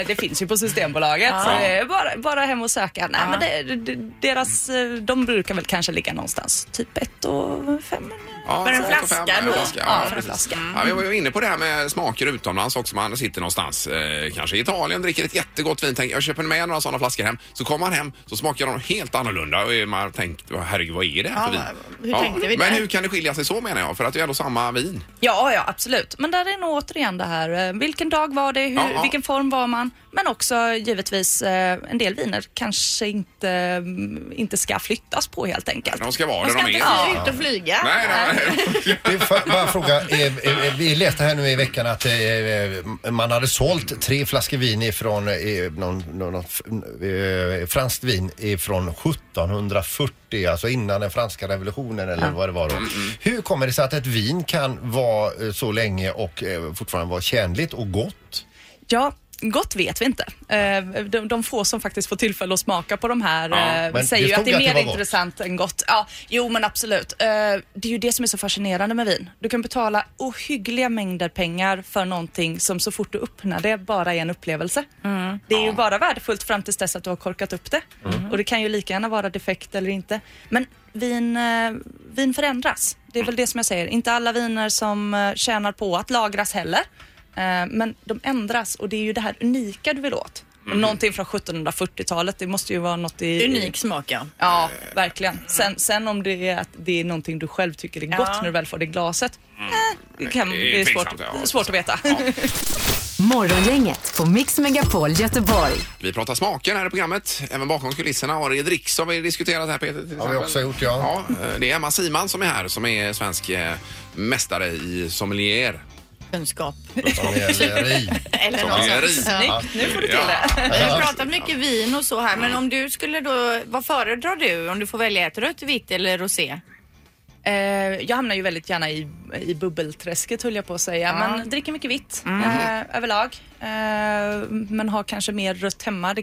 [SPEAKER 7] Eh, det finns ju på Systembolaget. Så det är bara, bara hem och söka. Nej, men det, det, deras, eh, de brukar väl kanske ligga någonstans typ 1 och 5.
[SPEAKER 1] Ja,
[SPEAKER 2] För en
[SPEAKER 1] så
[SPEAKER 2] flaska
[SPEAKER 1] fem,
[SPEAKER 2] då?
[SPEAKER 1] en flaska,
[SPEAKER 7] Ja,
[SPEAKER 1] Ja,
[SPEAKER 7] för en
[SPEAKER 1] precis.
[SPEAKER 7] flaska.
[SPEAKER 1] Ja, vi var ju inne på det här med smaker utomlands också. Man sitter någonstans, eh, kanske i Italien, dricker ett jättegott vin. Tänker, jag köper med några sådana flaskor hem. Så kommer man hem så smakar de helt annorlunda. Och man tänker, herregud vad är det här för
[SPEAKER 2] Ja,
[SPEAKER 1] vin?
[SPEAKER 2] hur tänkte vi
[SPEAKER 1] men
[SPEAKER 2] där?
[SPEAKER 1] hur kan det skilja sig så menar jag? För att det är ändå samma vin.
[SPEAKER 7] Ja, ja, absolut. Men där är nog återigen det här, eh, vilken dag var det, hur,
[SPEAKER 1] Ja, ja.
[SPEAKER 7] vilken form var man? Men också givetvis eh, en del viner kanske inte, mm, inte ska flyttas på helt enkelt.
[SPEAKER 1] De ska vara
[SPEAKER 2] Man
[SPEAKER 1] där
[SPEAKER 2] ska
[SPEAKER 1] de är.
[SPEAKER 2] inte fly ut och flyga.
[SPEAKER 1] Nej, nej, nej.
[SPEAKER 3] Det är fa- bara en fråga. eh, eh, Vi läste här nu i veckan att eh, eh, man hade sålt tre flaskor vin ifrån eh, någon, någon, någon f- eh, franskt vin ifrån 1740, alltså innan den franska revolutionen eller vad det var då. Hur kommer det sig att ett vin kan vara eh, så länge och eh, fortfarande vara tjänligt och gott?
[SPEAKER 7] Ja, gott vet vi inte. Eh, De, de få som faktiskt får tillfälle att smaka på de här
[SPEAKER 1] Ja,
[SPEAKER 7] eh,
[SPEAKER 3] men
[SPEAKER 7] säger
[SPEAKER 3] det
[SPEAKER 7] ju att
[SPEAKER 3] stod
[SPEAKER 7] det är
[SPEAKER 3] att det
[SPEAKER 7] mer
[SPEAKER 3] var gott.
[SPEAKER 7] intressant än gott. Ja, jo, men absolut. Eh, Det är ju det som är så fascinerande med vin. Du kan betala ohyggliga mängder pengar för någonting som så fort du öppnar det bara är en upplevelse. Det är ju bara värdefullt fram tills dess att du har korkat upp det. Och det kan ju lika gärna vara defekt eller inte. Men vin, eh, vin förändras. Det är väl det som jag säger. Inte alla viner som eh, tjänar på att lagras heller. Eh, Men de ändras och det är ju det här unika du vill åt. Och Någonting från 1740-talet, det måste ju vara något i...
[SPEAKER 2] Unik smak ja.
[SPEAKER 7] Ja, verkligen. Sen, sen om det är att det är någonting du själv tycker är gott
[SPEAKER 2] Ja.
[SPEAKER 7] när du väl får det i glaset, eh, det, kan,
[SPEAKER 1] Det är
[SPEAKER 7] det är svårt,
[SPEAKER 1] tveksamt, ja.
[SPEAKER 7] svårt att veta.
[SPEAKER 4] Morgongänget på Mix Megapol Göteborg.
[SPEAKER 1] Vi pratar smaker här i programmet, även bakom kulisserna. Arild Rix har vi diskuterat här Peter. Till
[SPEAKER 3] Har vi
[SPEAKER 1] exempel.
[SPEAKER 3] också gjort, ja.
[SPEAKER 1] ja. eh, Det är Emma Siman som är här som är svensk eh, mästare i sommelier.
[SPEAKER 2] kunskap.
[SPEAKER 3] Som gäller i.
[SPEAKER 2] Eller något
[SPEAKER 1] Sommelieri.
[SPEAKER 2] sånt. Ja.
[SPEAKER 7] Snyggt, nu får du till
[SPEAKER 1] Ja.
[SPEAKER 7] det.
[SPEAKER 2] Vi har pratat mycket vin och så här, men om du skulle då, vad föredrar du om du får välja ett rött, vitt eller rosé?
[SPEAKER 7] Eh, jag hamnar ju väldigt gärna i, i bubbelträsket höll jag på att säga. Men dricker mycket vitt eh, överlag. Eh, men har kanske mer rött hemma. Det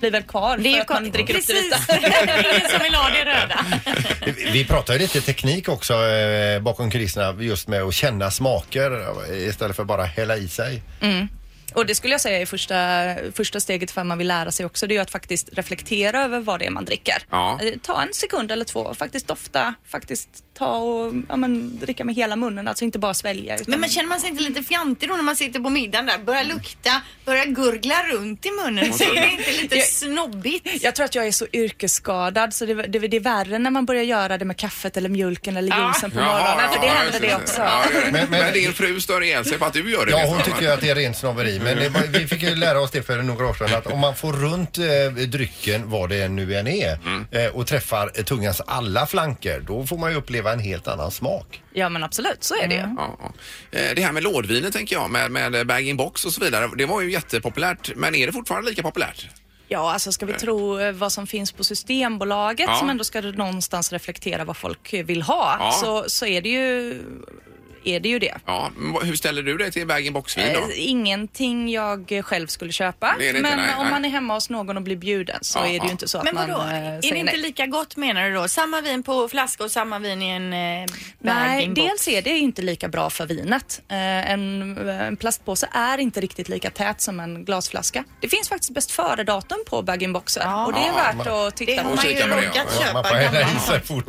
[SPEAKER 7] blir väl kvar för att man dricker upp det
[SPEAKER 2] Precis,
[SPEAKER 7] vita.
[SPEAKER 2] ingen som vill ha det röda.
[SPEAKER 3] Vi pratar ju lite teknik också eh, bakom kulisserna just med att känna smaker eh, istället för bara hälla i sig.
[SPEAKER 7] Och det skulle jag säga är första, första steget för att man vill lära sig också. Det är ju att faktiskt reflektera över vad det är man dricker.
[SPEAKER 1] Ja.
[SPEAKER 7] Eh, Ta en sekund eller två och faktiskt dofta. Faktiskt ta och ja, men, dricka med hela munnen. Alltså inte bara svälja. Utan
[SPEAKER 2] Men man känner man sig inte lite fjantig då när man sitter på middagen där? Börjar lukta, börjar gurgla runt i munnen. Så är det inte lite
[SPEAKER 7] Jag-
[SPEAKER 2] snobbigt?
[SPEAKER 7] Jag tror att jag är så yrkesskadad så det, det, det är värre när man börjar göra det med kaffet eller mjölken eller juicen på
[SPEAKER 1] Jaha,
[SPEAKER 7] morgonen.
[SPEAKER 1] ja,
[SPEAKER 7] för det
[SPEAKER 1] ja,
[SPEAKER 7] händer
[SPEAKER 1] just
[SPEAKER 7] det också.
[SPEAKER 1] Ja, det gör det. men,
[SPEAKER 3] Men- men-
[SPEAKER 1] din fru stör ihjäl sig på att du gör det.
[SPEAKER 3] Ja,
[SPEAKER 1] vet
[SPEAKER 3] hon
[SPEAKER 1] jag,
[SPEAKER 3] tycker
[SPEAKER 1] va?
[SPEAKER 3] ju att det är rent snobberi, men det, var- vi fick ju lära oss det för några år sedan att om man får runt eh, drycken, vad det nu än är, eh, och träffar eh, tungans alla flanker, då får man ju uppleva en helt annan smak.
[SPEAKER 7] Ja men absolut, så är det ju.
[SPEAKER 1] Ja, ja. Eh, Det här med lådviner tänker jag, med, med bag-in-box och så vidare. Det var ju jättepopulärt, men är det fortfarande lika populärt?
[SPEAKER 7] Ja, alltså ska vi tro eh, vad som finns på Systembolaget
[SPEAKER 1] Ja.
[SPEAKER 7] som ändå ska någonstans reflektera vad folk eh, vill ha
[SPEAKER 1] Ja.
[SPEAKER 7] så, så är det ju är det. Ju det.
[SPEAKER 1] Ja, men vad- hur ställer du dig till bag-in-box-vin
[SPEAKER 7] Eh,
[SPEAKER 1] då?
[SPEAKER 7] Ingenting jag eh, själv skulle köpa.
[SPEAKER 1] Det är det inte,
[SPEAKER 7] men
[SPEAKER 1] nej,
[SPEAKER 7] om
[SPEAKER 1] nej.
[SPEAKER 7] man är hemma hos någon och blir bjuden så
[SPEAKER 1] Ja,
[SPEAKER 7] är det
[SPEAKER 1] ja.
[SPEAKER 7] ju inte så att
[SPEAKER 2] Men
[SPEAKER 7] man
[SPEAKER 2] vadå,
[SPEAKER 7] eh,
[SPEAKER 2] är det
[SPEAKER 7] säger
[SPEAKER 2] inte
[SPEAKER 7] nej.
[SPEAKER 2] lika gott menar du då? Samma vin på flaska och samma vin i en eh,
[SPEAKER 7] Nej,
[SPEAKER 2] bag-in-box?
[SPEAKER 7] dels är det inte lika bra för vinet. Eh, en, en plastpåse är inte riktigt lika tät som en glasflaska. Det finns faktiskt bäst före-datum på bag-in-boxer och det är värt att
[SPEAKER 2] Det har
[SPEAKER 7] titta på.
[SPEAKER 1] Och
[SPEAKER 2] man ju
[SPEAKER 1] kika på det, ja.
[SPEAKER 2] råkat
[SPEAKER 1] Ja,
[SPEAKER 3] Man
[SPEAKER 2] köpa
[SPEAKER 3] får hälla i
[SPEAKER 2] gammal
[SPEAKER 3] sig fort.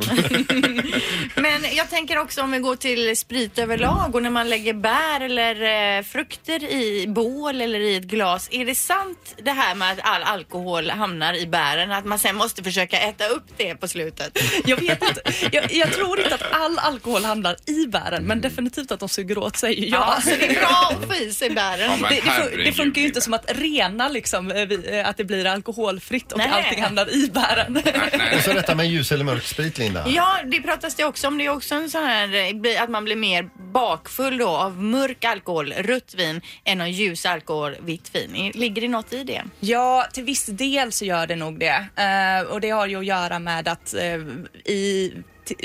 [SPEAKER 2] Men jag tänker också om vi går till sprit överlag och när man lägger bär eller eh, frukter i bål eller i ett glas. Är det sant det här med att all alkohol hamnar i bären? Att man sen måste försöka äta upp det på slutet?
[SPEAKER 7] Jag vet inte. Jag, jag tror inte att all alkohol hamnar i bären, men definitivt att de suger åt sig.
[SPEAKER 2] Ja,
[SPEAKER 7] Ja.
[SPEAKER 2] så det är bra att få i sig
[SPEAKER 1] Ja,
[SPEAKER 2] bären.
[SPEAKER 1] men
[SPEAKER 7] Det, det, fun- det
[SPEAKER 1] herregud.
[SPEAKER 7] funkar ju inte som att rena liksom, eh, vi- eh, att det blir alkoholfritt och
[SPEAKER 2] Nej.
[SPEAKER 7] allting hamnar i bären.
[SPEAKER 1] Nej, nej.
[SPEAKER 3] Och så detta med ljus eller mörk sprit, Linda.
[SPEAKER 2] Ja, det pratas det också om. Det är också en sån här eh, bli- att man blir mer bakfull då av mörk alkohol, rött vin, än av ljus alkohol, vitt vin. Ligger det något i det?
[SPEAKER 7] Ja, till viss del så gör det nog det. Eh, och det har ju att göra med att eh, i, t-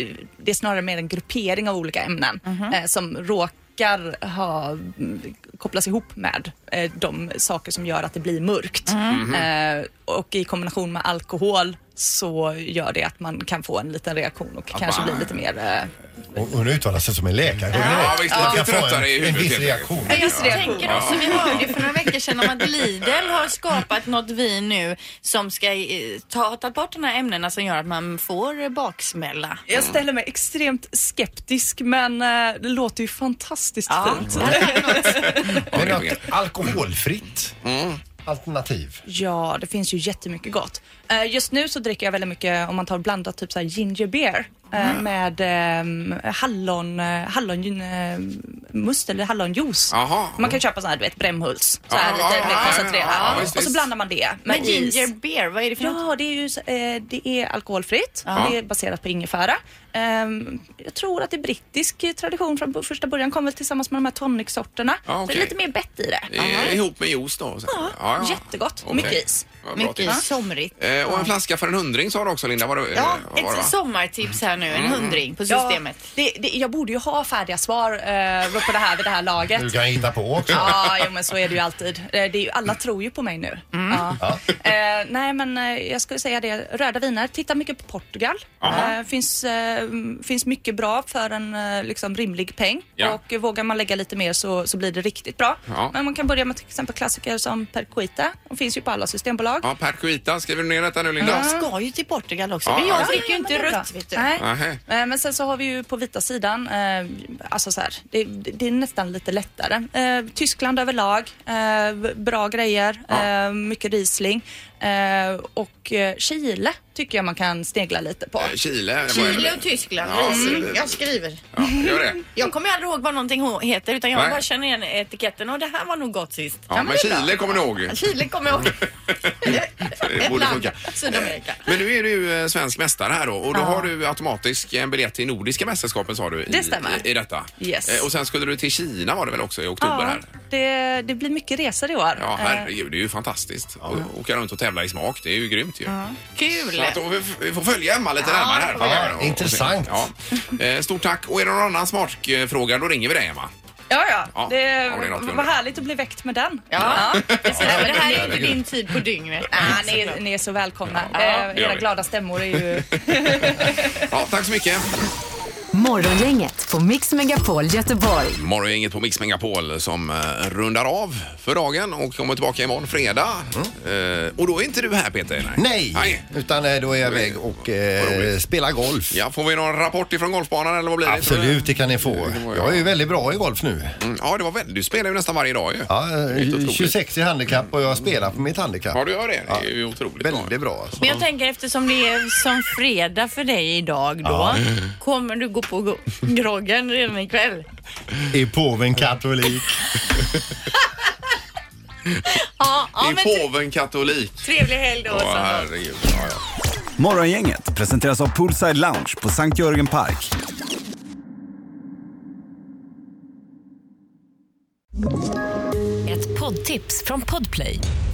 [SPEAKER 7] det är snarare mer en gruppering av olika ämnen eh, som råkar ha, mm, kopplas ihop med eh, de saker som gör att det blir mörkt.
[SPEAKER 1] Mhm.
[SPEAKER 7] Eh, och i kombination med alkohol så gör det att man kan få en liten reaktion och kanske
[SPEAKER 1] man-
[SPEAKER 7] bli lite mer eh,
[SPEAKER 3] Och hon uttalar sig som en läkare.
[SPEAKER 1] Ja, visst, lite
[SPEAKER 3] Jag får
[SPEAKER 1] tröttare i
[SPEAKER 3] en, en
[SPEAKER 1] huvudet.
[SPEAKER 3] viss
[SPEAKER 1] Peter.
[SPEAKER 3] reaktion.
[SPEAKER 2] Ja,
[SPEAKER 7] Viss
[SPEAKER 2] jag
[SPEAKER 7] reaktion.
[SPEAKER 2] tänker också, vi hörde för några veckor sedan om att Lidl har skapat något vin nu som ska eh, ta, ta bort de här ämnena som gör att man får eh, baksmälla.
[SPEAKER 7] Jag ställer mig extremt skeptisk men eh, det låter ju fantastiskt
[SPEAKER 2] Ja,
[SPEAKER 7] fint.
[SPEAKER 2] det här är något.
[SPEAKER 3] Men något alkoholfritt
[SPEAKER 1] Mm.
[SPEAKER 3] alternativ.
[SPEAKER 7] Ja, det finns ju jättemycket gott. Eh, Just nu så dricker jag väldigt mycket, om man tar blandat, typ så här ginger beer eh, med ehm, hallon, eh, hallonmust eller hallonjuice.
[SPEAKER 1] Jaha.
[SPEAKER 7] Man kan köpa sån här, du vet, Brämhults. Så
[SPEAKER 1] Ja,
[SPEAKER 7] här
[SPEAKER 1] ja,
[SPEAKER 7] lite
[SPEAKER 1] ja,
[SPEAKER 7] mer
[SPEAKER 1] ja,
[SPEAKER 7] koncentrerad.
[SPEAKER 1] ja, ja, visst,
[SPEAKER 7] och så
[SPEAKER 1] visst.
[SPEAKER 7] blandar man det med
[SPEAKER 2] Men
[SPEAKER 7] is.
[SPEAKER 2] ginger beer, vad är det för något?
[SPEAKER 7] Ja, det är ju så- eh, det är alkoholfritt. Det är baserat på ingefära. Ehm, jag tror att det är brittisk tradition från bo- första början. Kom väl tillsammans med de här tonicsorterna.
[SPEAKER 1] Ja,
[SPEAKER 7] Så
[SPEAKER 1] okej.
[SPEAKER 7] det är lite mer bett i det.
[SPEAKER 1] I- Eh, Ihop med juice då? så.
[SPEAKER 7] Ja, jättegott.
[SPEAKER 1] Okej.
[SPEAKER 7] Mycket is.
[SPEAKER 1] Ja, bra tips.
[SPEAKER 2] Mycket somrigt.
[SPEAKER 1] Eh, och en flaska för en hundring sa du också Linda. Var det,
[SPEAKER 2] Ja,
[SPEAKER 1] eh, var det,
[SPEAKER 2] ett
[SPEAKER 1] va?
[SPEAKER 2] sommartips här nu, en hundring på systemet.
[SPEAKER 7] Ja, det, det, jag borde ju ha färdiga svar eh, på det här vid det här laget.
[SPEAKER 3] Du kan hitta på också.
[SPEAKER 7] Ja, jo, men så är det ju alltid. Eh, Det är ju, alla tror ju på mig nu.
[SPEAKER 1] Mm.
[SPEAKER 7] Ja. Eh, nej, men eh, jag skulle säga det. Röda viner. Titta mycket på Portugal. Eh, finns, eh, finns mycket bra för en eh, liksom, rimlig peng.
[SPEAKER 1] Ja.
[SPEAKER 7] Och eh, vågar man lägga lite mer så, så blir det riktigt bra.
[SPEAKER 1] Ja.
[SPEAKER 7] Men man kan börja med till exempel klassiker som Perquita. De finns ju på alla systembolag.
[SPEAKER 1] Ja, Perquita. Skriver du ner detta nu Linda?
[SPEAKER 2] Jag ska ju till Portugal också,
[SPEAKER 1] Ja,
[SPEAKER 2] men
[SPEAKER 1] ja,
[SPEAKER 2] jag dricker ju
[SPEAKER 7] Ja, men
[SPEAKER 2] inte
[SPEAKER 7] det är bra.
[SPEAKER 2] rött vet du.
[SPEAKER 7] Nej.
[SPEAKER 1] Nähä.
[SPEAKER 7] Eh, Men sen så har vi ju på vita sidan, eh, alltså så här, det, det det är nästan lite lättare. Eh, Tyskland överlag, eh, bra grejer, eh, mycket Riesling. Eh, och eh, Chile tycker jag man kan snegla lite på.
[SPEAKER 1] Eh, Chile.
[SPEAKER 2] Chile och Tyskland.
[SPEAKER 1] Ja,
[SPEAKER 2] Mm.
[SPEAKER 1] absolut.
[SPEAKER 2] Jag skriver.
[SPEAKER 1] Ja, gör det.
[SPEAKER 2] Jag kommer aldrig ihåg vad någonting ho- heter utan jag
[SPEAKER 1] Nej.
[SPEAKER 2] bara känner igen etiketten och det här var nog gott sist.
[SPEAKER 1] Ja, men Chile kommer du ihåg.
[SPEAKER 2] Chile kommer jag ihåg.
[SPEAKER 1] Det
[SPEAKER 2] Ett
[SPEAKER 1] borde
[SPEAKER 2] land,
[SPEAKER 1] funka.
[SPEAKER 2] Sydamerika.
[SPEAKER 1] Men nu är du eh, svensk mästare här då och då har du automatisk eh, en biljett till Nordiska mästerskapen sa du. I,
[SPEAKER 7] Det stämmer.
[SPEAKER 1] I, i detta.
[SPEAKER 7] Yes.
[SPEAKER 1] Eh, Och sen skulle du till Kina var det väl också i oktober
[SPEAKER 7] Ja,
[SPEAKER 1] här?
[SPEAKER 7] det, det blir mycket resor i år.
[SPEAKER 1] Ja,
[SPEAKER 7] Eh,
[SPEAKER 1] herregud, det är ju fantastiskt. Och åka runt och tävla i smak, det är ju grymt ju. Så
[SPEAKER 2] Kul!
[SPEAKER 1] att då, vi, f- vi får följa Emma lite närmare här.
[SPEAKER 3] vi
[SPEAKER 1] framöver
[SPEAKER 3] göra.
[SPEAKER 1] och- och
[SPEAKER 3] Intressant.
[SPEAKER 1] se. Ja. Eh, Stort tack. Och är det någon annan smartfråga då ringer vi dig Emma.
[SPEAKER 7] Ja, ja.
[SPEAKER 1] Ja,
[SPEAKER 7] det,
[SPEAKER 1] ja, det är något vi
[SPEAKER 7] var
[SPEAKER 1] undrar.
[SPEAKER 7] härligt att bli väckt med den.
[SPEAKER 2] Ja, precis. Nej, men det här är inte din tid på dygnet.
[SPEAKER 7] Ah, ni, är, ni är så välkomna.
[SPEAKER 1] Ja,
[SPEAKER 7] eh,
[SPEAKER 1] det gör
[SPEAKER 7] era
[SPEAKER 1] vi.
[SPEAKER 7] glada stämmor är ju...
[SPEAKER 1] Ja, tack så mycket.
[SPEAKER 4] Morgongänget på Mix Megapol Göteborg.
[SPEAKER 1] Morgongänget på Mix Megapol som eh, rundar av för dagen och kommer tillbaka imorgon fredag. Eh, och då är inte du här Peter?
[SPEAKER 3] Mm. Nej,
[SPEAKER 1] Nej.
[SPEAKER 3] utan eh, då är jag iväg och
[SPEAKER 1] Vad
[SPEAKER 3] eh,
[SPEAKER 1] roligt.
[SPEAKER 3] spelar golf.
[SPEAKER 1] Ja, får vi någon rapport ifrån golfbanan eller vad blir det?
[SPEAKER 3] Absolut, det kan ni få. Jag är ju väldigt bra i golf nu.
[SPEAKER 1] Mm, ja, det var väl, du spelar ju nästan varje dag ju.
[SPEAKER 3] Ja,
[SPEAKER 1] Det är helt
[SPEAKER 3] eh,
[SPEAKER 1] otroligt.
[SPEAKER 3] 26 i handikapp och jag spelar på mitt handikapp.
[SPEAKER 1] Ja, du gör det. Det är ju otroligt
[SPEAKER 3] Väldigt bra. alltså.
[SPEAKER 2] Men jag tänker eftersom det är som fredag för dig idag då. Kommer du gå på go- groggen redan ikväll?
[SPEAKER 3] Är påven katolik?
[SPEAKER 2] Ja, ja
[SPEAKER 1] det
[SPEAKER 2] men
[SPEAKER 1] är
[SPEAKER 2] tre-
[SPEAKER 1] påven katolik.
[SPEAKER 2] trevlig helg då.
[SPEAKER 1] Åh,
[SPEAKER 2] Sandra.
[SPEAKER 1] herregud. Ja, ja.
[SPEAKER 8] Morgongänget presenteras av Poolside Lounge på Sankt Jörgen Park.
[SPEAKER 9] Ett poddtips från Podplay.